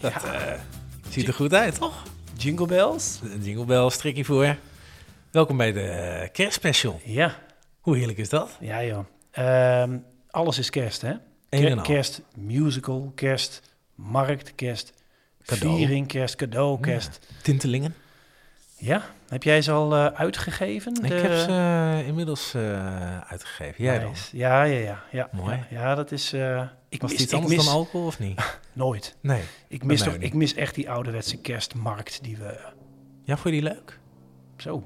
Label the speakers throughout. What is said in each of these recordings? Speaker 1: dat eh, ziet er goed uit, toch? Jingle bells. Een Jingle bells, strikje voor. Welkom bij de eh, kerstspecial.
Speaker 2: Ja,
Speaker 1: Hoe heerlijk is dat?
Speaker 2: ja joh. Ehm, alles is kerst, hè?
Speaker 1: Een en al.
Speaker 2: kerst, musical, kerst, markt, kerst,
Speaker 1: Cadeau.
Speaker 2: viering, kerst, cadeau, kerst.
Speaker 1: Tintelingen.
Speaker 2: Ja, heb jij ze al eh, uitgegeven?
Speaker 1: Ik heb ze eh, inmiddels eh, uitgegeven. Jij dan?
Speaker 2: Nice. Ja, ja, ja. ja.
Speaker 1: Mooi.
Speaker 2: Ja, ja, dat is... eh, ik
Speaker 1: Was
Speaker 2: mis,
Speaker 1: het iets
Speaker 2: ik
Speaker 1: anders
Speaker 2: mis
Speaker 1: dan alcohol of niet?
Speaker 2: Nooit.
Speaker 1: Nee.
Speaker 2: Ik mis,
Speaker 1: mij
Speaker 2: toch,
Speaker 1: ook niet.
Speaker 2: ik mis echt die ouderwetse kerstmarkt die we... eh,
Speaker 1: Ja, vond je die leuk?
Speaker 2: Zo,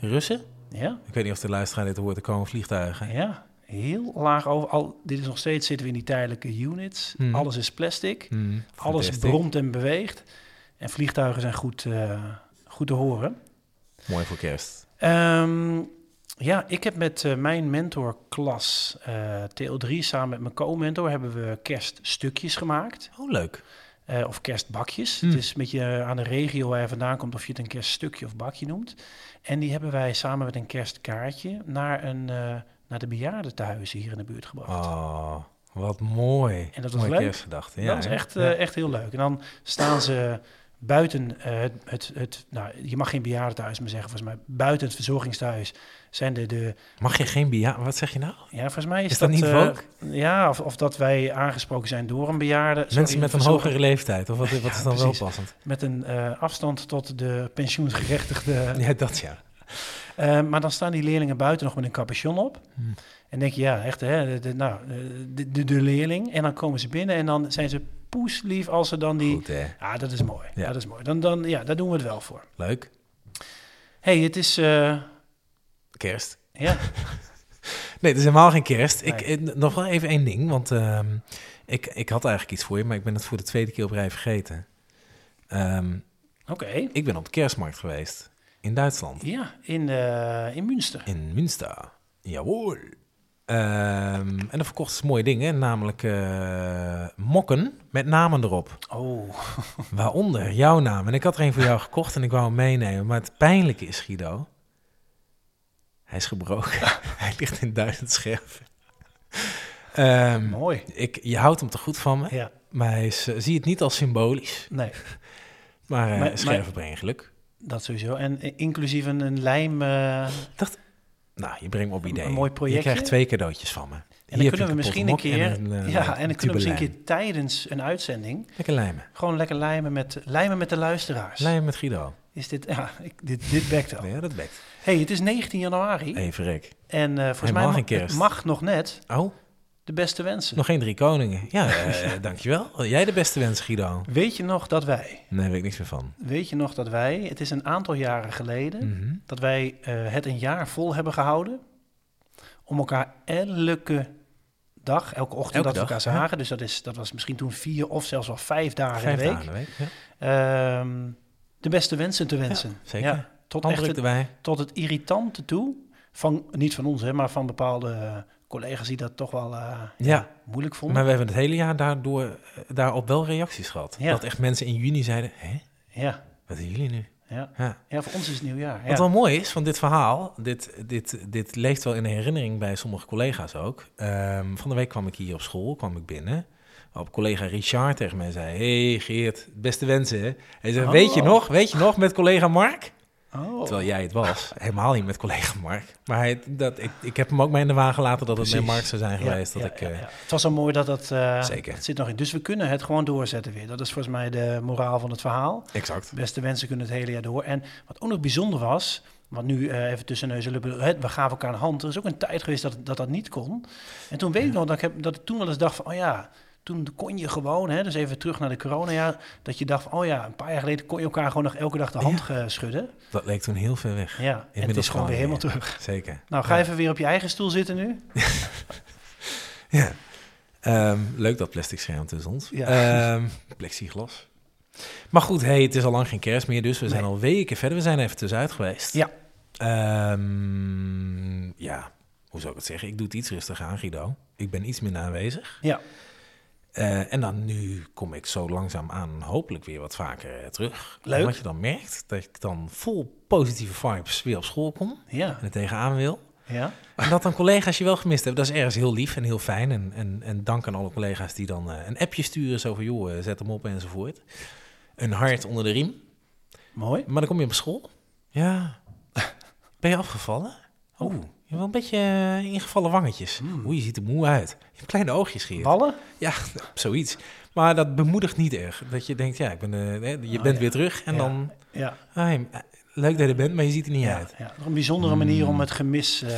Speaker 1: Russen?
Speaker 2: ja,
Speaker 1: Ik weet niet of de luisteraar dit hoort, er komen vliegtuigen.
Speaker 2: ja. Heel laag over. Al, dit is nog steeds zitten we in die tijdelijke units.
Speaker 1: Hmm.
Speaker 2: Alles is plastic.
Speaker 1: Hmm,
Speaker 2: Alles
Speaker 1: fantastisch.
Speaker 2: bromt en beweegt. En vliegtuigen zijn goed, eh, goed te horen.
Speaker 1: Mooi voor kerst.
Speaker 2: Ehm, ja, ik heb met eh, mijn mentorklas eh TL3 samen met mijn co-mentor hebben we kerststukjes gemaakt.
Speaker 1: Oh, leuk.
Speaker 2: Eh, of kerstbakjes.
Speaker 1: Hmm.
Speaker 2: Het is een beetje eh, aan de regio waar je vandaan komt of je het een kerststukje of bakje noemt. En die hebben wij samen met een kerstkaartje naar, een, eh, naar de bejaardentehuizen hier in de buurt gebracht.
Speaker 1: Oh, wat mooi.
Speaker 2: En dat was
Speaker 1: Mooie
Speaker 2: leuk.
Speaker 1: kerstgedachte. Ja,
Speaker 2: dat is
Speaker 1: hè?
Speaker 2: echt,
Speaker 1: Ja.
Speaker 2: eh, echt heel leuk. En dan staan ze buiten eh, het, het, het nou, je mag geen bejaardentehuis meer zeggen, volgens mij. Buiten het verzorgingstehuis zijn de, de
Speaker 1: Mag je geen bia... Wat zeg je nou?
Speaker 2: ja, volgens mij is,
Speaker 1: Is dat niet
Speaker 2: eh,
Speaker 1: woke?
Speaker 2: ja, of, of dat wij aangesproken zijn door een bejaarde. sorry,
Speaker 1: Mensen met een
Speaker 2: verzorg-
Speaker 1: hogere leeftijd, of wat, wat is dan
Speaker 2: precies.
Speaker 1: wel passend?
Speaker 2: Met een eh, afstand tot de pensioensgerechtigde.
Speaker 1: Ja, dat ja.
Speaker 2: Eh, maar dan staan die leerlingen buiten nog met een capuchon op.
Speaker 1: Hmm.
Speaker 2: En denk je, ja, echt, hè, de, de- nou, eh, de, de, de leerling. En dan komen ze binnen en dan zijn ze poeslief als ze dan die...
Speaker 1: Goed, hè?
Speaker 2: Ja, Ah, dat is mooi.
Speaker 1: Ja.
Speaker 2: Ja. Dat is mooi. Dan, dan, ja, daar doen we het wel voor.
Speaker 1: Leuk.
Speaker 2: hey, het is... eh,
Speaker 1: Kerst.
Speaker 2: ja,
Speaker 1: Nee, het is helemaal geen kerst. Ik,
Speaker 2: Nee.
Speaker 1: eh, n- nog wel even één ding, want ehm, ik, ik had eigenlijk iets voor je, maar ik ben het voor de tweede keer op rij vergeten. Ehm,
Speaker 2: oké.
Speaker 1: ik ben op de kerstmarkt geweest in Duitsland,
Speaker 2: Ja, in, eh, in Münster.
Speaker 1: in Münster. Jawohl. Ehm, en dan verkochten ze mooie dingen, namelijk eh, mokken met namen erop.
Speaker 2: Oh,
Speaker 1: Waaronder jouw naam. En ik had er een voor jou gekocht en ik wou hem meenemen. Maar het pijnlijke is, Guido. Hij is gebroken. hij ligt in duizend scherven. Ehm,
Speaker 2: mooi.
Speaker 1: ik, je houdt hem te goed van me.
Speaker 2: Ja,
Speaker 1: Maar hij is, eh, zie het niet als symbolisch.
Speaker 2: nee,
Speaker 1: Maar eh
Speaker 2: Maar-
Speaker 1: scherven brengen geluk.
Speaker 2: dat sowieso. En eh, inclusief een, een lijm... eh,
Speaker 1: Nou, je brengt me op
Speaker 2: Een-
Speaker 1: ideeën.
Speaker 2: een mooi
Speaker 1: Je krijgt
Speaker 2: projectje.
Speaker 1: twee cadeautjes van me.
Speaker 2: en dan kunnen we misschien een keer... ja, en dan kunnen we misschien een
Speaker 1: keer...
Speaker 2: keer tijdens een uitzending...
Speaker 1: eh, Lekker lijmen.
Speaker 2: Gewoon lekker lijmen met, lijmen met de luisteraars.
Speaker 1: Lijmen met Guido.
Speaker 2: Is dit... Ja, ik, dit, dit bekt al.
Speaker 1: Ja, dat bekt.
Speaker 2: hey, het is 19 januari.
Speaker 1: Even Rick.
Speaker 2: En eh, volgens
Speaker 1: Helemaal
Speaker 2: mij
Speaker 1: geen
Speaker 2: mag,
Speaker 1: kerst.
Speaker 2: het mag nog net
Speaker 1: Oh,
Speaker 2: de beste wensen.
Speaker 1: nog geen drie koningen. Ja, eh, dankjewel. Jij de beste wens, Guido.
Speaker 2: Weet je nog dat wij...
Speaker 1: Nee, daar weet ik niks meer van.
Speaker 2: Weet je nog dat wij, het is een aantal jaren geleden,
Speaker 1: Mhm.
Speaker 2: dat wij eh, het een jaar vol hebben gehouden. Om elkaar elke dag, elke ochtend
Speaker 1: Elke
Speaker 2: dat we
Speaker 1: dag,
Speaker 2: elkaar zagen. Dus dat, is, dat was misschien toen vier of zelfs wel vijf dagen
Speaker 1: Vijf
Speaker 2: in de
Speaker 1: dagen
Speaker 2: week.
Speaker 1: de week. Ja.
Speaker 2: Ehm, de beste wensen te wensen.
Speaker 1: zeker.
Speaker 2: tot, echt
Speaker 1: Handdruk
Speaker 2: het,
Speaker 1: erbij.
Speaker 2: tot het irritante toe. Van, niet van ons, hè, maar van bepaalde eh, collega's die dat toch wel eh,
Speaker 1: Ja,
Speaker 2: moeilijk vonden.
Speaker 1: maar we hebben het hele jaar daardoor, eh, daarop wel reacties gehad.
Speaker 2: Ja.
Speaker 1: Dat echt mensen in juni zeiden, hè,
Speaker 2: ja,
Speaker 1: wat doen jullie nu?
Speaker 2: ja.
Speaker 1: Ja.
Speaker 2: ja, voor ons is het nieuwjaar.
Speaker 1: Wat
Speaker 2: ja.
Speaker 1: wel mooi is van dit verhaal, dit, dit, dit leeft wel in de herinnering bij sommige collega's ook. Ehm, van de week kwam ik hier op school, kwam ik binnen. Op collega Richard tegen mij zei, hey Geert, beste wensen. hè?" Hij zei,
Speaker 2: Oh.
Speaker 1: weet je nog, weet je nog met collega Mark?
Speaker 2: Oh.
Speaker 1: Terwijl jij het was. Ah, Helemaal niet met collega Mark. Maar hij, dat, ik, ik heb hem ook mee in de waan gelaten dat het met
Speaker 2: Precies.
Speaker 1: Mark zou zijn
Speaker 2: Ja,
Speaker 1: geweest.
Speaker 2: ja,
Speaker 1: dat ik,
Speaker 2: ja,
Speaker 1: eh,
Speaker 2: ja. Het was al mooi dat dat, eh,
Speaker 1: Zeker.
Speaker 2: het zit nog in. Dus we kunnen het gewoon doorzetten weer. Dat is volgens mij de moraal van het verhaal.
Speaker 1: Exact.
Speaker 2: De beste wensen kunnen het hele jaar door. En wat ook nog bijzonder was, want nu eh, even tussen neus en lippen, hè, we gaven elkaar een hand. Er is ook een tijd geweest dat dat, dat niet kon. En toen weet ik nog dat ik, heb, dat ik toen wel eens dacht van, oh ja, toen kon je gewoon, hè, dus even terug naar de coronajaar, dat je dacht van, oh ja, een paar jaar geleden kon je elkaar gewoon nog elke dag de hand eh, schudden.
Speaker 1: Dat leek toen heel ver weg.
Speaker 2: Ja, en het is gewoon weer helemaal terug.
Speaker 1: Zeker.
Speaker 2: Nou, ga even weer op je eigen stoel zitten nu.
Speaker 1: Ja. Ehm, leuk dat plastic scherm tussen ons.
Speaker 2: Ja.
Speaker 1: Ehm, plexiglas. Maar goed, hey, het is al lang geen kerst meer, dus we zijn
Speaker 2: Nee.
Speaker 1: al weken verder. We zijn even tussenuit geweest.
Speaker 2: Ja.
Speaker 1: Ehm, ja, hoe zou ik het zeggen? Ik doe het iets rustiger aan, Guido. Ik ben iets minder aanwezig.
Speaker 2: Ja.
Speaker 1: Eh, en dan nu kom ik zo langzaam aan, hopelijk weer wat vaker eh, terug.
Speaker 2: Leuk.
Speaker 1: En Wat je dan merkt, dat ik dan vol positieve vibes weer op school kom
Speaker 2: Ja.
Speaker 1: en er tegenaan wil.
Speaker 2: Ja.
Speaker 1: En dat dan collega's je wel gemist hebben, dat is ergens heel lief en heel fijn. En, en, en dank aan alle collega's die dan eh, een appje sturen, zo van joh, eh, zet hem op enzovoort. Een hart onder de riem.
Speaker 2: Mooi.
Speaker 1: Maar dan kom je op school. Ja. Ben je afgevallen? Oh, je hebt wel een beetje eh, ingevallen wangetjes. Oeh, je ziet er moe uit. Je hebt kleine oogjes geëerd.
Speaker 2: Ballen?
Speaker 1: Ja, zoiets. Maar dat bemoedigt niet erg. Dat je denkt, ja, ik ben, eh, hè, je
Speaker 2: Oh,
Speaker 1: bent
Speaker 2: ja.
Speaker 1: weer terug. En
Speaker 2: Ja.
Speaker 1: dan,
Speaker 2: Ja.
Speaker 1: ah, je- eh, leuk dat je er bent, maar je ziet er niet
Speaker 2: Ja,
Speaker 1: uit.
Speaker 2: ja. Nog een bijzondere manier om het gemis. eh,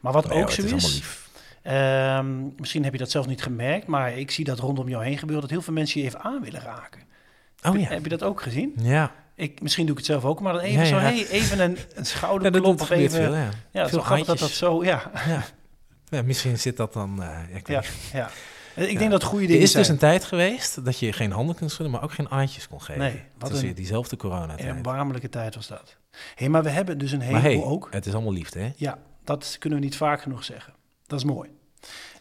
Speaker 2: maar wat
Speaker 1: Nee, hoor,
Speaker 2: ook zo
Speaker 1: Hmm. Oh het is allemaal
Speaker 2: is.
Speaker 1: lief.
Speaker 2: ehm, misschien heb je dat zelf niet gemerkt, maar ik zie dat rondom jou heen gebeuren dat heel veel mensen je even aan willen raken.
Speaker 1: Oh
Speaker 2: Heb-
Speaker 1: ja.
Speaker 2: Heb je dat ook gezien?
Speaker 1: Ja,
Speaker 2: Ik, misschien doe ik het zelf ook, maar dan even
Speaker 1: Ja,
Speaker 2: zo,
Speaker 1: ja.
Speaker 2: hey, even een, een
Speaker 1: ja dat,
Speaker 2: schouderklop
Speaker 1: dat
Speaker 2: of
Speaker 1: gebeurt
Speaker 2: even.
Speaker 1: veel. Ja,
Speaker 2: ja, het is
Speaker 1: veel
Speaker 2: wel grappig dat
Speaker 1: handjes.
Speaker 2: dat zo. Ja,
Speaker 1: Ja. Ja, misschien zit dat dan... eh, ja, ik weet
Speaker 2: ja,
Speaker 1: niet.
Speaker 2: ja. Eh, Ik
Speaker 1: Ja.
Speaker 2: denk dat het goede
Speaker 1: Er
Speaker 2: dingen
Speaker 1: is dus
Speaker 2: zijn.
Speaker 1: een tijd geweest dat je geen handen kunt schudden, maar ook geen aantjes kon geven.
Speaker 2: Nee, wat
Speaker 1: dat is
Speaker 2: een-
Speaker 1: weer diezelfde coronatijd.
Speaker 2: Erbarmelijke tijd was dat. Hé, maar we hebben dus een
Speaker 1: maar
Speaker 2: heleboel
Speaker 1: hey,
Speaker 2: ook.
Speaker 1: het is allemaal liefde, hè?
Speaker 2: Ja, dat kunnen we niet vaak genoeg zeggen. Dat is mooi.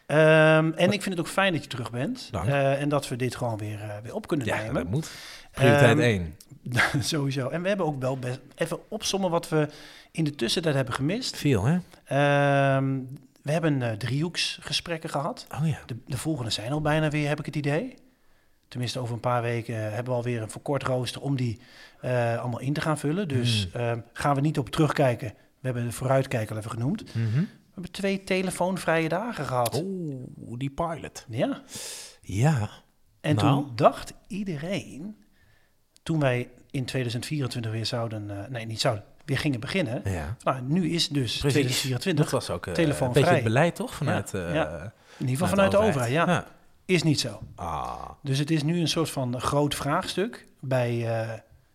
Speaker 2: Ehm, en ik vind het ook fijn dat je terug bent.
Speaker 1: Dank.
Speaker 2: Eh, en dat we dit gewoon weer, eh, weer op kunnen
Speaker 1: Ja, dat
Speaker 2: nemen.
Speaker 1: moet. Prioriteit
Speaker 2: Ehm,
Speaker 1: 1.
Speaker 2: Sowieso. En we hebben ook wel best even opzommen wat we in de tussentijd hebben gemist.
Speaker 1: Veel, hè?
Speaker 2: Ehm, we hebben eh, driehoeksgesprekken gehad.
Speaker 1: Oh ja.
Speaker 2: De, de volgende zijn al bijna weer, heb ik het idee. Tenminste, over een paar weken eh, hebben we alweer een verkort rooster om die eh, allemaal in te gaan vullen. Dus
Speaker 1: Hmm.
Speaker 2: ehm, gaan we niet op terugkijken. We hebben de vooruitkijker al even genoemd.
Speaker 1: Mhm.
Speaker 2: We hebben twee telefoonvrije dagen gehad.
Speaker 1: Oh, die pilot.
Speaker 2: Ja.
Speaker 1: Ja.
Speaker 2: En
Speaker 1: Nou?
Speaker 2: toen dacht iedereen, toen wij in 2024 weer zouden, eh, nee, niet zouden, weer gingen beginnen.
Speaker 1: ja.
Speaker 2: van, Nou, nu is dus
Speaker 1: Dat
Speaker 2: 2024,
Speaker 1: was ook eh, een
Speaker 2: Telefoonvrij.
Speaker 1: beetje het beleid, toch? Vanuit,
Speaker 2: Ja,
Speaker 1: eh,
Speaker 2: ja.
Speaker 1: vanuit
Speaker 2: in ieder geval vanuit de overheid, ja, is niet zo.
Speaker 1: Ah,
Speaker 2: Dus het is nu een soort van groot vraagstuk bij eh,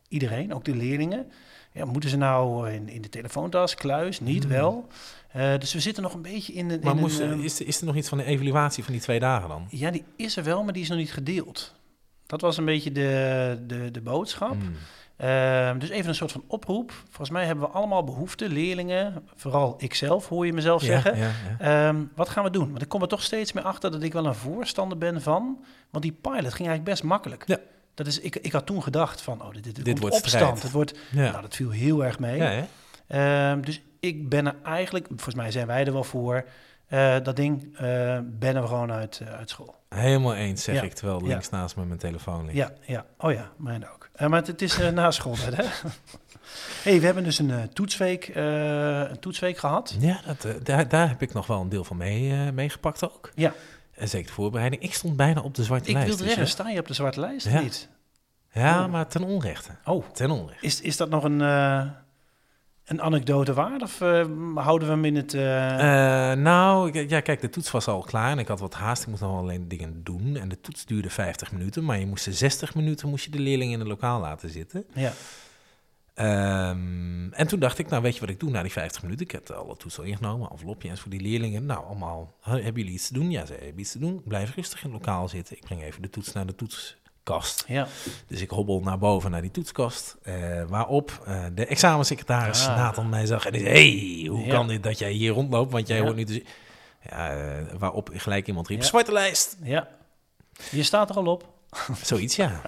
Speaker 2: iedereen, ook de leerlingen. Ja, moeten ze nou in, in de telefoontas, kluis, niet wel? Eh, dus we zitten nog een beetje in een...
Speaker 1: maar
Speaker 2: in
Speaker 1: moest,
Speaker 2: een,
Speaker 1: er-
Speaker 2: ehm,
Speaker 1: is, er- is er nog iets van de evaluatie van die twee dagen dan?
Speaker 2: Ja, die is er wel, maar die is nog niet gedeeld. Dat was een beetje de, de, de boodschap.
Speaker 1: Mm.
Speaker 2: Ehm, dus even een soort van oproep. Volgens mij hebben we allemaal behoefte, leerlingen, vooral ikzelf, hoor je mezelf
Speaker 1: Ja,
Speaker 2: zeggen.
Speaker 1: ja, ja.
Speaker 2: Ehm, wat gaan we doen? Want ik kom er toch steeds meer achter dat ik wel een voorstander ben van. Want die pilot ging eigenlijk best makkelijk.
Speaker 1: Ja.
Speaker 2: Dat is, ik, ik had toen gedacht van, oh, dit, dit, komt
Speaker 1: wordt
Speaker 2: opstand.
Speaker 1: strijd.
Speaker 2: Het wordt,
Speaker 1: Ja.
Speaker 2: Nou, dat viel heel erg mee.
Speaker 1: Ja, hè?
Speaker 2: Ehm, dus ik ben er eigenlijk, volgens mij zijn wij er wel voor. eh, dat ding eh bannen we gewoon uit, eh, uit school.
Speaker 1: Helemaal eens, zeg
Speaker 2: Ja.
Speaker 1: ik, terwijl
Speaker 2: Ja.
Speaker 1: links naast me mijn telefoon ligt.
Speaker 2: Ja, ja. Oh ja, mijn ook. Eh, maar het, het is eh, na school, hè? hey, we hebben dus een, eh, toetsweek, eh, een toetsweek gehad.
Speaker 1: Ja, dat, eh, daar, daar heb ik nog wel een deel van mee, eh, meegepakt ook.
Speaker 2: Ja.
Speaker 1: En zeker de voorbereiding. Ik stond bijna op de zwarte
Speaker 2: Ik
Speaker 1: lijst.
Speaker 2: wilde
Speaker 1: dus,
Speaker 2: zeggen, sta je op de zwarte lijst of
Speaker 1: Ja.
Speaker 2: niet?
Speaker 1: hè? Ja,
Speaker 2: Oh.
Speaker 1: maar ten onrechte.
Speaker 2: Oh.
Speaker 1: Ten onrechte.
Speaker 2: Is, is dat nog een, eh, een anekdote waard of eh, houden we hem in het... eh,
Speaker 1: Eh, nou, ik- ja, kijk, de toets was al klaar en ik had wat haast. Ik moest nog wel alleen dingen doen. En de toets duurde 50 minuten, maar je moest de 60 minuten moest je de leerling in het lokaal laten zitten.
Speaker 2: ja,
Speaker 1: Ehm, en toen dacht ik, nou weet je wat ik doe na die 50 minuten? Ik heb alle toets al ingenomen, envelopje en voor die leerlingen. Nou, allemaal, "He- hebben jullie iets te doen? Ja, ze hebben iets te doen. Blijf rustig in het lokaal zitten. Ik breng even de toets naar de toetskast.
Speaker 2: ja.
Speaker 1: Dus ik hobbel naar boven naar die toetskast. eh, waarop eh, de examensecretaris
Speaker 2: Ah.
Speaker 1: Nathan mij zag en die zei... hey, hoe
Speaker 2: Ja.
Speaker 1: kan dit dat jij hier rondloopt? Want jij
Speaker 2: Ja.
Speaker 1: hoort niet te zien." Ja, eh, waarop gelijk iemand riep,
Speaker 2: Ja.
Speaker 1: zwarte lijst.
Speaker 2: ja. Je staat er al op.
Speaker 1: Zoiets, ja.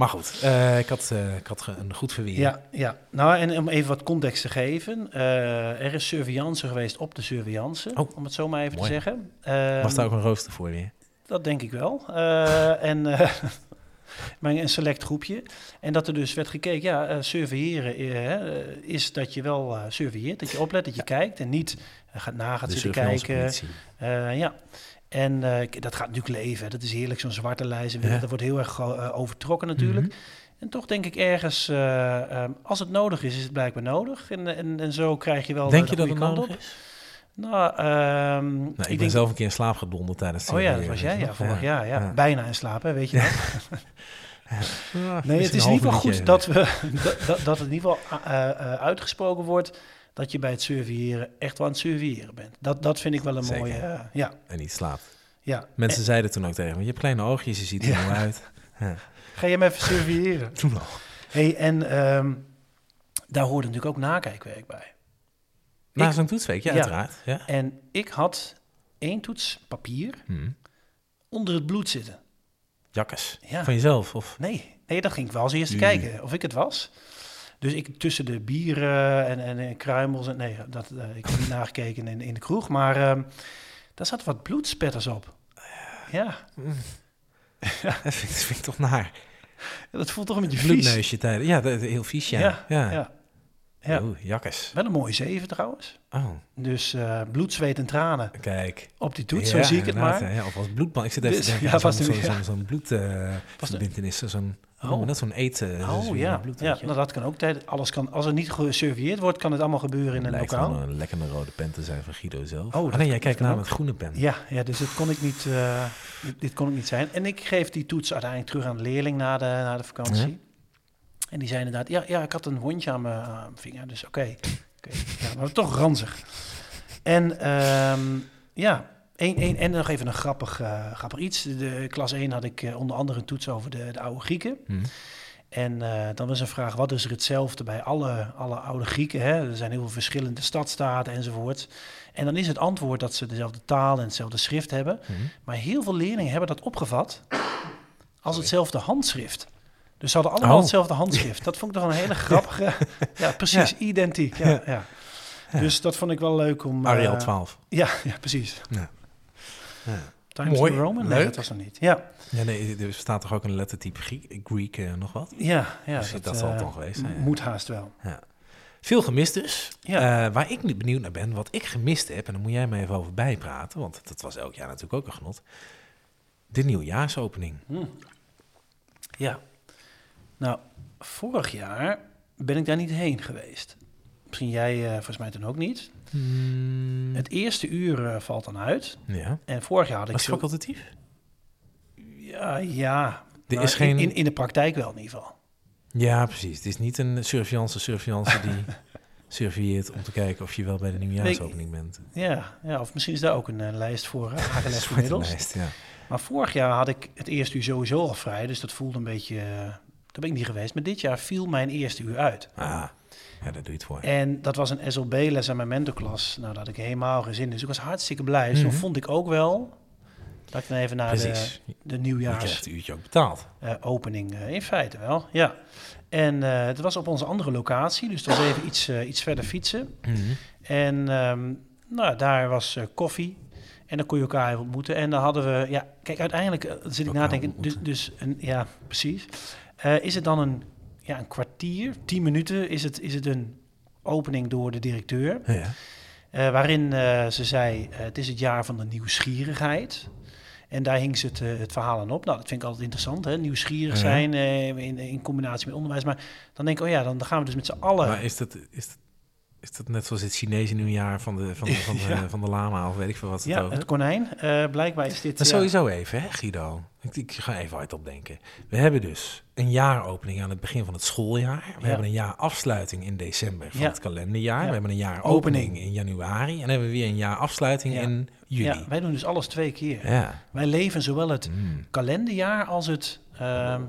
Speaker 1: Maar goed, eh, ik had, eh, ik had ge- een goed verweer.
Speaker 2: Ja, ja. Nou, en om even wat context te geven. eh, er is surveillance geweest op de surveillance,
Speaker 1: Oh.
Speaker 2: om het zo maar even
Speaker 1: Mooi.
Speaker 2: te zeggen. Ehm,
Speaker 1: Was daar ook een rooster voor weer?
Speaker 2: Dat denk ik wel. Eh, en eh, maar een select groepje. En dat er dus werd gekeken, ja, eh, surveilleren eh, hè, eh, is dat je wel eh surveilleert, dat je oplet, dat je kijkt en niet eh, gaat na gaat
Speaker 1: De
Speaker 2: zitten kijken.
Speaker 1: surveillancepolitie.
Speaker 2: Eh, ja, en eh, k- dat gaat natuurlijk leven. hè. Dat is heerlijk, zo'n zwarte lijst. en weer-
Speaker 1: Ja. Mhm.
Speaker 2: Dat wordt heel erg gro- eh, overtrokken natuurlijk. En toch denk ik ergens, eh, ehm, als het nodig is, is het blijkbaar nodig. En, en, en zo krijg je wel eh,
Speaker 1: Denk
Speaker 2: de
Speaker 1: je dat
Speaker 2: goede
Speaker 1: het
Speaker 2: kant
Speaker 1: nodig
Speaker 2: op. Nou, ehm, ik,
Speaker 1: Nou, ik, ben
Speaker 2: denk...
Speaker 1: zelf een keer in slaap gedonderd tijdens eh, het
Speaker 2: Oh ja, dat
Speaker 1: surveilleren,
Speaker 2: was jij,
Speaker 1: weet
Speaker 2: ja,
Speaker 1: je
Speaker 2: vorig
Speaker 1: nog?
Speaker 2: jaar. Ja.
Speaker 1: Ja.
Speaker 2: Bijna in slaap, hè, weet je wel.
Speaker 1: Ja,
Speaker 2: Nee, Ah, dus het
Speaker 1: misschien
Speaker 2: is
Speaker 1: een
Speaker 2: in ieder
Speaker 1: half
Speaker 2: geval
Speaker 1: minuutje
Speaker 2: goed dat, we, dat- dat, dat het in ieder geval eh, eh, uitgesproken wordt... dat je bij het surveilleren echt wel aan het surveilleren bent. Dat, dat vind ik wel een
Speaker 1: Zeker.
Speaker 2: mooie... eh, ja,
Speaker 1: even. En niet slaapt.
Speaker 2: ja.
Speaker 1: Mensen zeiden toen ook tegen me, je hebt kleine oogjes, je ziet er
Speaker 2: Eh. Ja.
Speaker 1: mooi uit. Ja.
Speaker 2: Ga je hem even surveilleren.
Speaker 1: Toen nog.
Speaker 2: hey, en ehm, daar hoorde natuurlijk ook nakijkwerk bij.
Speaker 1: Na zo'n toetsweek, ja,
Speaker 2: Ja.
Speaker 1: uiteraard. Ja.
Speaker 2: En ik had één toets papier
Speaker 1: Hm.
Speaker 2: onder het bloed zitten.
Speaker 1: Jakkes.
Speaker 2: Ja.
Speaker 1: Van jezelf? Of...
Speaker 2: Nee, nee, dat ging ik wel als eerste
Speaker 1: Mm.
Speaker 2: kijken of ik het was. Dus ik tussen de bieren en, en, eh, kruimels en nee, dat, eh, ik heb niet nagekeken in, in de kroeg, maar ehm, daar zat wat bloedspetters op. Ja,
Speaker 1: Dat vind ik, dat vind ik toch naar.
Speaker 2: dat voelt toch een beetje vies.
Speaker 1: Bloedneusje tijden. Ja, dat, heel vies, ja.
Speaker 2: Ja,
Speaker 1: Ja.
Speaker 2: Ja. ja.
Speaker 1: Oeh, jakkes.
Speaker 2: wel een mooie zeven trouwens.
Speaker 1: Oh,
Speaker 2: Dus eh, bloed, zweet en tranen
Speaker 1: kijk.
Speaker 2: op die toets,
Speaker 1: Ja,
Speaker 2: zo zie ik het
Speaker 1: inderdaad,
Speaker 2: maar.
Speaker 1: hè. Of als bloedband. Ik zit even
Speaker 2: Dus-
Speaker 1: te denken
Speaker 2: ja,
Speaker 1: aan zo'n
Speaker 2: vast
Speaker 1: zo,
Speaker 2: een-
Speaker 1: zo,
Speaker 2: ja.
Speaker 1: zo'n bloedverbindenis. zo'n
Speaker 2: Oh.
Speaker 1: oh. dat zo'n eten.
Speaker 2: Oh ja,
Speaker 1: Bloed,
Speaker 2: ja nou, dat kan ook. tijd- Alles kan, als er niet gesurveilleerd wordt, kan het allemaal gebeuren in een
Speaker 1: lijkt
Speaker 2: lokaal.
Speaker 1: wel een lekkere rode pen te zijn van Guido zelf.
Speaker 2: Oh,
Speaker 1: Oh,
Speaker 2: dat
Speaker 1: nee,
Speaker 2: kan-
Speaker 1: jij kijkt
Speaker 2: kan
Speaker 1: naar
Speaker 2: ook.
Speaker 1: met groene pen.
Speaker 2: Ja, ja dus dit kon, ik niet, eh, dit, dit kon ik niet zijn. En ik geef die toets uiteindelijk terug aan de leerling na de, na de vakantie. En die zei inderdaad, ja, ja ik had een wondje aan mijn aan mijn vinger, dus oké. Oké, ja, maar toch ranzig. En ehm, ja, één één en nog even een grappig, eh, grappig iets. De, de klas 1 had ik eh, onder andere een toets over de, de oude Grieken.
Speaker 1: Hm.
Speaker 2: En eh, dan was een vraag, wat is er hetzelfde bij alle, alle oude Grieken? Hè? Er zijn heel veel verschillende stadstaten enzovoort. En dan is het antwoord dat ze dezelfde taal en hetzelfde schrift hebben.
Speaker 1: Hm.
Speaker 2: Maar heel veel leerlingen hebben dat opgevat als hetzelfde handschrift. Dus ze hadden allemaal
Speaker 1: Oh.
Speaker 2: hetzelfde handschrift. Dat vond ik toch een hele grappige... ja, precies, identiek. Ja, ja. Dus dat vond ik wel leuk om... eh,
Speaker 1: Ariel 12.
Speaker 2: Ja, ja precies.
Speaker 1: Ja. Ja.
Speaker 2: Times
Speaker 1: Mooi,
Speaker 2: New Roman? Nee,
Speaker 1: leuk.
Speaker 2: dat was nog niet. Ja,
Speaker 1: Ja, nee, er bestaat toch ook een lettertype Griek, Greek eh, nog wat?
Speaker 2: ja, ja.
Speaker 1: Dus dat zal het
Speaker 2: eh,
Speaker 1: dan geweest zijn, ja.
Speaker 2: Moet haast wel.
Speaker 1: Veel gemist dus.
Speaker 2: Ja.
Speaker 1: Eh, waar ik nu benieuwd naar ben, wat ik gemist heb, en daar moet jij me even over bijpraten, want dat was elk jaar natuurlijk ook een genot. De nieuwjaarsopening.
Speaker 2: Ja. Nou, vorig jaar ben ik daar niet heen geweest. Misschien jij eh, volgens mij toen ook niet.
Speaker 1: Hm.
Speaker 2: Het eerste uur eh, valt dan uit.
Speaker 1: Ja.
Speaker 2: En vorig jaar had ik
Speaker 1: Was het
Speaker 2: zo...
Speaker 1: facultatief?
Speaker 2: Ja, ja.
Speaker 1: Er
Speaker 2: Nou,
Speaker 1: is
Speaker 2: in-
Speaker 1: geen-
Speaker 2: in, in de praktijk wel in ieder geval.
Speaker 1: Ja, precies. Het is niet een surveillance surveillance die surveilleert om te kijken of je wel bij de nieuwjaarsopening bent.
Speaker 2: Ja, ja, of misschien is daar ook een eh, lijst voor eh, aangelegd
Speaker 1: Zwarte
Speaker 2: inmiddels.
Speaker 1: lijst, ja.
Speaker 2: Maar vorig jaar had ik het eerste uur sowieso al vrij. Dus dat voelde een beetje... eh, daar ben ik niet geweest. Maar dit jaar viel mijn eerste uur uit.
Speaker 1: Ah, ja, daar doe je het voor.
Speaker 2: En dat was een SLB-les aan mijn mentorklas. Nou, daar had ik helemaal geen zin in. Dus ik was hartstikke blij. Dus
Speaker 1: Mhm.
Speaker 2: dan vond ik ook wel dat ik dan even naar de,
Speaker 1: Precies.
Speaker 2: de
Speaker 1: Je krijgt het
Speaker 2: nieuwjaarsopening
Speaker 1: uurtje ook betaald.
Speaker 2: opening eh, in feite wel. Ja. En eh, het was op onze andere locatie. Dus dat was even iets, eh, iets verder fietsen. En ehm, nou, daar was eh, koffie. En dan kon je elkaar even ontmoeten. En dan hadden we... Ja, kijk, uiteindelijk eh, zit ik
Speaker 1: Elkaar
Speaker 2: na te denken... Dus,
Speaker 1: ontmoeten.
Speaker 2: dus een, ja, precies. Eh, is het dan een, ja, een kwartier, tien minuten? Is het, is het een opening door de directeur?
Speaker 1: Ja.
Speaker 2: Eh, waarin eh, ze zei, eh, het is het jaar van de nieuwsgierigheid. En daar hing ze het, eh, het verhaal aan op. Nou, dat vind ik altijd interessant, hè? nieuwsgierig
Speaker 1: Ja.
Speaker 2: zijn eh, in, in combinatie met onderwijs. Maar dan denk ik, oh ja, dan, dan gaan we dus met z'n allen...
Speaker 1: Maar is dat, is, dat, is dat net zoals het Chinese nieuwjaar van de, van de, van de,
Speaker 2: Ja.
Speaker 1: van de lama of weet ik veel wat het
Speaker 2: ja,
Speaker 1: ook
Speaker 2: het konijn. Eh, blijkbaar is dit...
Speaker 1: Maar
Speaker 2: ja,
Speaker 1: sowieso even, hè, Guido? Ik, ik ga even hard opdenken. We hebben dus een jaaropening aan het begin van het schooljaar. We
Speaker 2: Ja.
Speaker 1: hebben een jaarafsluiting in december van
Speaker 2: Ja.
Speaker 1: het kalenderjaar.
Speaker 2: Ja.
Speaker 1: We hebben een
Speaker 2: Opening.
Speaker 1: jaaropening in januari. En dan hebben we weer een jaarafsluiting
Speaker 2: Ja.
Speaker 1: in juli.
Speaker 2: Ja, wij doen dus alles twee keer.
Speaker 1: Ja.
Speaker 2: Wij leven zowel het
Speaker 1: Mm.
Speaker 2: kalenderjaar als het ehm,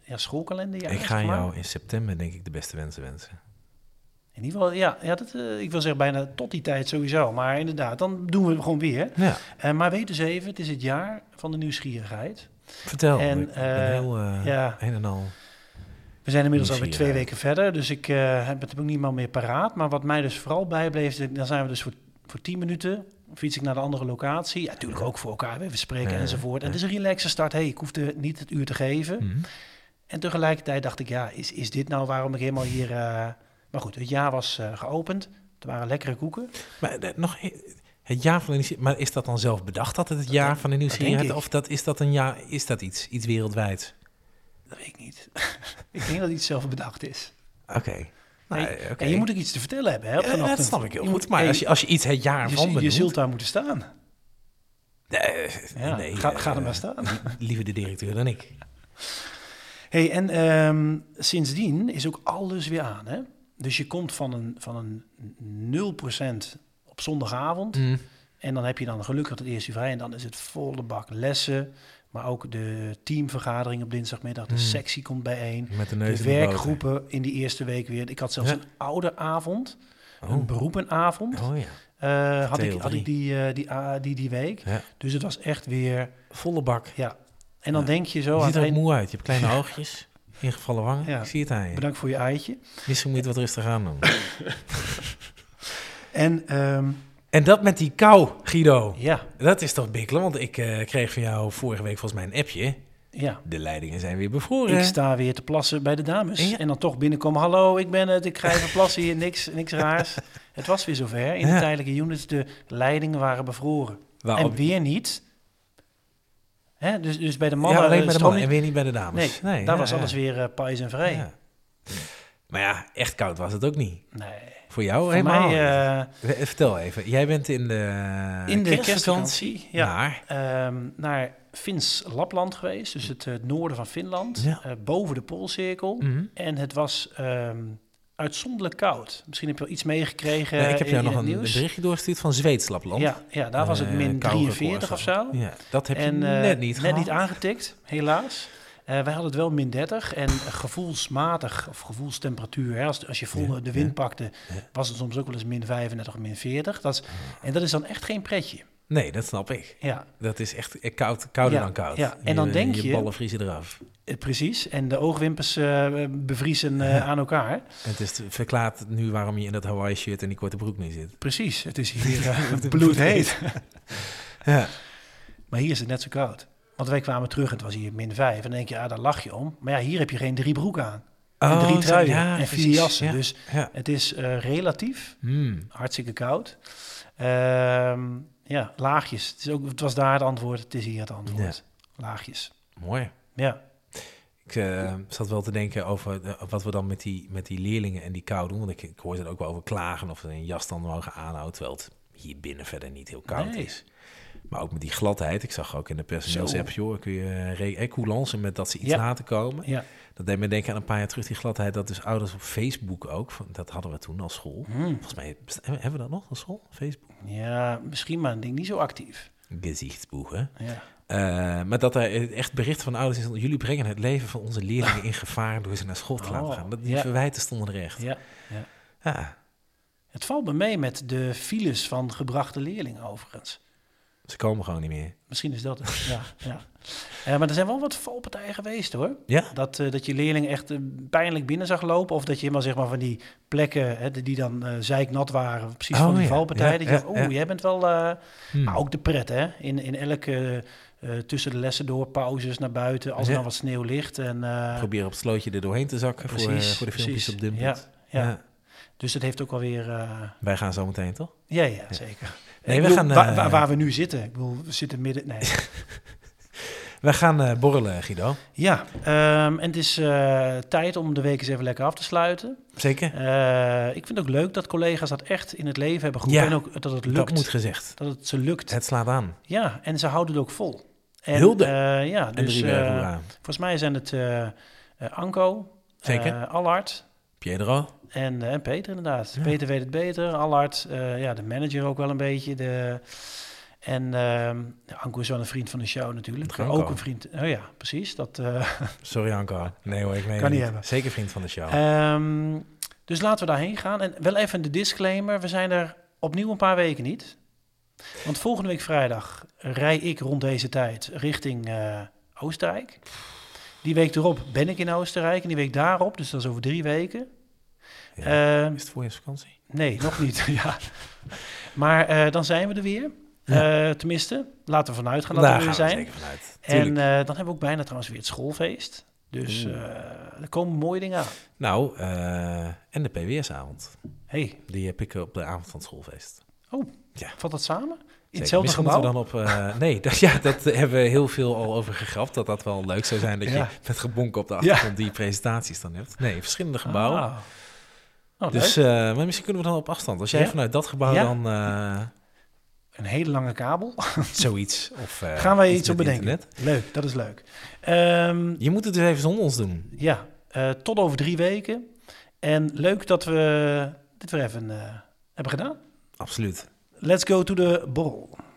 Speaker 2: ja, schoolkalenderjaar.
Speaker 1: ik ga
Speaker 2: zeg maar.
Speaker 1: jou in september denk ik de beste wensen wensen.
Speaker 2: In ieder geval, ja, ja dat, eh, ik wil zeggen bijna tot die tijd sowieso. Maar inderdaad, dan doen we het gewoon weer.
Speaker 1: Ja,
Speaker 2: Eh, maar weet dus even, het is het jaar van de nieuwsgierigheid.
Speaker 1: vertel.
Speaker 2: En,
Speaker 1: ik ben
Speaker 2: eh,
Speaker 1: heel eh,
Speaker 2: ja.
Speaker 1: een en al.
Speaker 2: We zijn inmiddels alweer twee
Speaker 1: Nieuwsgierigheid.
Speaker 2: weken verder, dus ik eh, heb het ook niet meer meer paraat. Maar wat mij dus vooral bijbleef, is dat- dan zijn we dus voor, voor tien minuten, fiets ik naar de andere locatie. Ja, natuurlijk ook voor elkaar, even spreken
Speaker 1: Ja,
Speaker 2: enzovoort. En het is een relaxe start, hey, ik hoefde niet het uur te geven.
Speaker 1: Mm.
Speaker 2: En tegelijkertijd dacht ik, ja, is, is dit nou waarom ik helemaal hier... eh, Maar goed, het jaar was eh, geopend, er waren lekkere koeken.
Speaker 1: Maar eh, nog e- het jaar van de nieuwsgier- Maar is dat dan zelf bedacht dat het het jaar van de nieuwsgierigheid?
Speaker 2: ik.
Speaker 1: Of dat, is dat een jaar? Is dat iets? Iets wereldwijd?
Speaker 2: Dat weet ik niet. ik denk dat iets zelf bedacht is.
Speaker 1: Oké. Nou,
Speaker 2: Hey,
Speaker 1: eh, oké.
Speaker 2: En je moet ook iets te vertellen hebben, hè? op
Speaker 1: Ja,
Speaker 2: zo'n
Speaker 1: dat
Speaker 2: ochtend.
Speaker 1: snap ik heel
Speaker 2: Je
Speaker 1: goed.
Speaker 2: moet-
Speaker 1: Maar
Speaker 2: hey,
Speaker 1: als je, als je iets het jaar van
Speaker 2: je, je
Speaker 1: benoemt...
Speaker 2: zult daar moeten staan.
Speaker 1: Nee,
Speaker 2: Ja,
Speaker 1: nee,
Speaker 2: ga,
Speaker 1: eh,
Speaker 2: ga er maar staan.
Speaker 1: Liever de directeur dan ik.
Speaker 2: Hey, en ehm, sindsdien is ook alles weer aan. Hè? Dus je komt van een, van een 0%
Speaker 1: Mm.
Speaker 2: op zondagavond. En dan heb je dan gelukkig het eerste uur vrij. En dan is het volle bak lessen, Maar ook de teamvergadering op dinsdagmiddag, de
Speaker 1: Mm.
Speaker 2: sectie komt bijeen.
Speaker 1: Met de
Speaker 2: De
Speaker 1: neus in de boter.
Speaker 2: werkgroepen in die eerste week weer. Ik had zelfs
Speaker 1: Ja.
Speaker 2: een ouderavond, een
Speaker 1: Oh,
Speaker 2: beroepenavond.
Speaker 1: oh ja.
Speaker 2: eh, had, ik,
Speaker 1: TL3.
Speaker 2: had ik die, eh, die, ah, die, die week.
Speaker 1: ja.
Speaker 2: Dus het was echt weer,
Speaker 1: Volle bak.
Speaker 2: ja. En dan
Speaker 1: Ja.
Speaker 2: denk je zo
Speaker 1: Je
Speaker 2: aan
Speaker 1: ziet
Speaker 2: het
Speaker 1: er ook
Speaker 2: eind-
Speaker 1: moe uit. Je hebt kleine oogjes, ingevallen wangen.
Speaker 2: Ja.
Speaker 1: Ik zie het aan je.
Speaker 2: bedankt voor je eitje.
Speaker 1: Misschien moet je het wat rustig aan doen.
Speaker 2: En ehm,
Speaker 1: En dat met die kou, Guido.
Speaker 2: ja,
Speaker 1: Dat is toch bikkelen? Want ik eh, kreeg van jou vorige week volgens mij een appje.
Speaker 2: ja.
Speaker 1: De leidingen zijn weer bevroren.
Speaker 2: Ik sta weer te plassen bij de dames.
Speaker 1: Ja.
Speaker 2: En dan toch binnenkomen. Hallo, ik ben het. Ik ga even plassen hier. Niks, niks raars. Het was weer zover.
Speaker 1: Ja.
Speaker 2: In
Speaker 1: Nou, oh.
Speaker 2: de tijdelijke units, de leidingen waren bevroren.
Speaker 1: Waarop-
Speaker 2: En weer niet. Hè? Dus, dus bij de
Speaker 1: ja,
Speaker 2: mannen...
Speaker 1: alleen
Speaker 2: eh,
Speaker 1: bij de
Speaker 2: stroom
Speaker 1: mannen en
Speaker 2: niet-
Speaker 1: weer niet bij de dames.
Speaker 2: Nee, daar
Speaker 1: ja,
Speaker 2: was
Speaker 1: ja.
Speaker 2: alles weer eh pais en vrij.
Speaker 1: Ja. Maar ja, echt koud was het ook niet.
Speaker 2: Nee,
Speaker 1: Voor jou
Speaker 2: voor
Speaker 1: Oh, helemaal
Speaker 2: mij
Speaker 1: niet.
Speaker 2: eh,
Speaker 1: Eh, Vertel even, jij bent in de,
Speaker 2: in de kerstvakantie. Ja.
Speaker 1: naar-
Speaker 2: ehm, naar Fins Lapland geweest, dus het eh, noorden van Finland,
Speaker 1: Ja.
Speaker 2: eh, boven de Poolcirkel.
Speaker 1: Mhm.
Speaker 2: En het was ehm, uitzonderlijk koud. Misschien heb je wel iets meegekregen.
Speaker 1: Nee, ik heb
Speaker 2: in-
Speaker 1: jou
Speaker 2: in
Speaker 1: nog
Speaker 2: het
Speaker 1: een, een
Speaker 2: nieuws.
Speaker 1: berichtje doorgestuurd van Zweedslapland.
Speaker 2: Ja, ja, daar was het
Speaker 1: Eh,
Speaker 2: min
Speaker 1: koude
Speaker 2: 43 of
Speaker 1: records.
Speaker 2: zo.
Speaker 1: Ja, dat heb je
Speaker 2: en eh,
Speaker 1: net niet gehad.
Speaker 2: aangetikt, helaas. Eh, wij hadden het wel min 30 en gevoelsmatig, of gevoelstemperatuur, hè, als, als je vol
Speaker 1: Ja,
Speaker 2: de wind
Speaker 1: ja.
Speaker 2: pakte,
Speaker 1: Ja.
Speaker 2: was het soms ook wel eens min 35 min 40. Dat is, en dat is dan echt geen pretje.
Speaker 1: Nee, dat snap ik.
Speaker 2: Ja,
Speaker 1: Dat is echt eh, koud, kouder
Speaker 2: Ja,
Speaker 1: dan koud.
Speaker 2: ja. En dan
Speaker 1: je,
Speaker 2: denk je-
Speaker 1: Je ballen vriezen eraf.
Speaker 2: eh, precies. En de oogwimpers eh, bevriezen eh,
Speaker 1: Ja.
Speaker 2: aan elkaar.
Speaker 1: En het is, verklaart nu waarom je in dat Hawaii-shirt en die korte broek nu zit.
Speaker 2: Precies, het is hier eh, bloedheet.
Speaker 1: Ja.
Speaker 2: Maar hier is het net zo koud. Want wij kwamen terug en het was hier min 5. En dan denk je, ah, daar lach je om. Maar ja, hier heb je geen drie broeken aan. En
Speaker 1: Oh,
Speaker 2: drie
Speaker 1: zo,
Speaker 2: truien
Speaker 1: ja,
Speaker 2: en vier
Speaker 1: precies,
Speaker 2: jassen.
Speaker 1: ja.
Speaker 2: Dus
Speaker 1: Ja.
Speaker 2: het is eh, relatief
Speaker 1: Hmm.
Speaker 2: hartstikke koud. Ehm, ja, laagjes. Het, is ook, het was daar het antwoord, het is hier het antwoord. Laagjes.
Speaker 1: Mooi.
Speaker 2: Ja,
Speaker 1: Ik eh, zat wel te denken over de- wat we dan met die, met die leerlingen en die kou doen. Want ik, ik hoorde er ook wel over klagen of ze een jas dan mogen aanhouden. Terwijl het hier binnen verder niet heel koud
Speaker 2: Nee.
Speaker 1: is. Maar ook met die gladheid. Ik zag ook in de personeelsapp, joh, kun je re- eh, coulance met dat ze iets
Speaker 2: Ja.
Speaker 1: laten komen.
Speaker 2: ja.
Speaker 1: Dat deed me denken aan een paar jaar terug, die gladheid. Dat dus ouders op Facebook ook, van- dat hadden we toen als school.
Speaker 2: Hm.
Speaker 1: Volgens mij, besta- hebben we dat nog als school? Facebook?
Speaker 2: ja misschien maar een ding niet zo actief.
Speaker 1: Gezichtsboegen.
Speaker 2: Ja.
Speaker 1: Eh, maar dat er echt bericht van ouders is... dat jullie brengen het leven van onze leerlingen in gevaar... door ze naar school te laten
Speaker 2: Oh,
Speaker 1: gaan. Dat, die
Speaker 2: ja.
Speaker 1: verwijten stonden er echt. Ja.
Speaker 2: Ja. Het valt me mee met de files van gebrachte leerlingen overigens.
Speaker 1: ze komen gewoon niet meer.
Speaker 2: Misschien is dat het. ja, ja. Eh, maar er zijn wel wat valpartijen geweest hoor.
Speaker 1: Ja?
Speaker 2: Dat, eh, dat je leerling echt eh, pijnlijk binnen zag lopen. Of dat je helemaal zeg maar, van die plekken hè, die- die dan eh zeiknat waren. Precies
Speaker 1: Oh,
Speaker 2: van die
Speaker 1: ja.
Speaker 2: valpartijen.
Speaker 1: Ja,
Speaker 2: dat je
Speaker 1: ja,
Speaker 2: dacht, oeh,
Speaker 1: ja.
Speaker 2: jij bent wel... eh,
Speaker 1: Hmm.
Speaker 2: Maar ook de pret hè. In, in elke... eh, tussen de lessen door, pauzes naar buiten. Als er
Speaker 1: Ja.
Speaker 2: dan wat sneeuw ligt. En, eh,
Speaker 1: Proberen op het slootje er doorheen te zakken... voor, eh,
Speaker 2: Precies,
Speaker 1: voor de filmpjes
Speaker 2: precies.
Speaker 1: op Dumpet.
Speaker 2: ja. dus dat heeft ook alweer... eh,
Speaker 1: Wij gaan zo meteen, toch?
Speaker 2: ja, ja, zeker.
Speaker 1: Nee,
Speaker 2: Ik
Speaker 1: we
Speaker 2: bedoel,
Speaker 1: gaan,
Speaker 2: waar,
Speaker 1: eh,
Speaker 2: waar- waar we nu zitten. Ik bedoel, we zitten midden... Nee.
Speaker 1: Wij gaan eh, borrelen, Guido.
Speaker 2: ja, ehm, en het is eh, tijd om de week eens even lekker af te sluiten.
Speaker 1: Zeker?
Speaker 2: Eh, ik vind het ook leuk dat collega's dat echt in het leven hebben geroepen.
Speaker 1: Ja,
Speaker 2: en ook dat het lukt.
Speaker 1: dat moet gezegd.
Speaker 2: Dat het ze lukt.
Speaker 1: Het slaat aan.
Speaker 2: Ja, en ze houden het ook vol. En,
Speaker 1: Hulde.
Speaker 2: eh, ja,
Speaker 1: En
Speaker 2: dus
Speaker 1: drie
Speaker 2: eh,
Speaker 1: bergen hoera.
Speaker 2: volgens mij zijn het eh, eh, Anko,
Speaker 1: Zeker.
Speaker 2: eh, Allard
Speaker 1: Piedro.
Speaker 2: en, eh, en Peter inderdaad.
Speaker 1: Ja.
Speaker 2: Peter weet het beter. Allard, eh, ja, de manager ook wel een beetje. De, en ehm, ja, Anko is wel een vriend van de show natuurlijk.
Speaker 1: Anko.
Speaker 2: Ook een vriend. Oh ja, precies. Dat, eh,
Speaker 1: Sorry, Anko. Nee hoor, ik meen
Speaker 2: Kan
Speaker 1: het
Speaker 2: niet hebben.
Speaker 1: Zeker vriend van de show.
Speaker 2: Ehm, dus laten we daarheen gaan. En wel even de disclaimer: we zijn er opnieuw een paar weken niet. Want volgende week vrijdag rij ik rond deze tijd richting eh, Oostenrijk. Die week erop ben ik in Oostenrijk. En die week daarop, dus dat is over drie weken.
Speaker 1: Ja.
Speaker 2: Ehm,
Speaker 1: is het voor je vakantie?
Speaker 2: nee, nog niet. ja. Maar eh, dan zijn we er weer. Eh, tenminste, laten we vanuit gaan dat
Speaker 1: Daar
Speaker 2: we
Speaker 1: gaan
Speaker 2: er
Speaker 1: we
Speaker 2: zijn.
Speaker 1: zeker vanuit.
Speaker 2: en
Speaker 1: Tuurlijk. Mm.
Speaker 2: eh, dan hebben we ook bijna trouwens weer het schoolfeest. Dus
Speaker 1: Oeh.
Speaker 2: eh, er komen mooie dingen aan.
Speaker 1: Nou, eh, en de PWS-avond.
Speaker 2: Hey,
Speaker 1: Die heb ik op de avond van het schoolfeest.
Speaker 2: Valt dat samen? In
Speaker 1: Zeker.
Speaker 2: hetzelfde
Speaker 1: Misschien
Speaker 2: gebouw?
Speaker 1: moeten we dan op... eh, nee, dat, ja, dat hebben we heel veel al over gegrapt. Dat dat wel leuk zou zijn dat
Speaker 2: Ja.
Speaker 1: je met gebonken op de
Speaker 2: Ja.
Speaker 1: achtergrond die presentaties dan hebt. Nee, verschillende gebouwen.
Speaker 2: Ah. Oh,
Speaker 1: dus,
Speaker 2: leuk.
Speaker 1: eh, maar misschien kunnen we dan op afstand. Als jij
Speaker 2: Ja.
Speaker 1: vanuit dat gebouw
Speaker 2: Ja.
Speaker 1: dan eh,
Speaker 2: Een hele lange kabel.
Speaker 1: zoiets... Of, eh,
Speaker 2: Gaan wij iets op
Speaker 1: met
Speaker 2: bedenken?
Speaker 1: internet.
Speaker 2: Leuk, dat is leuk. Ehm,
Speaker 1: Je moet het dus even zonder ons doen.
Speaker 2: ja, eh, tot over drie weken. En leuk dat we dit weer even eh, hebben gedaan.
Speaker 1: Absoluut.
Speaker 2: Let's go to the borrel.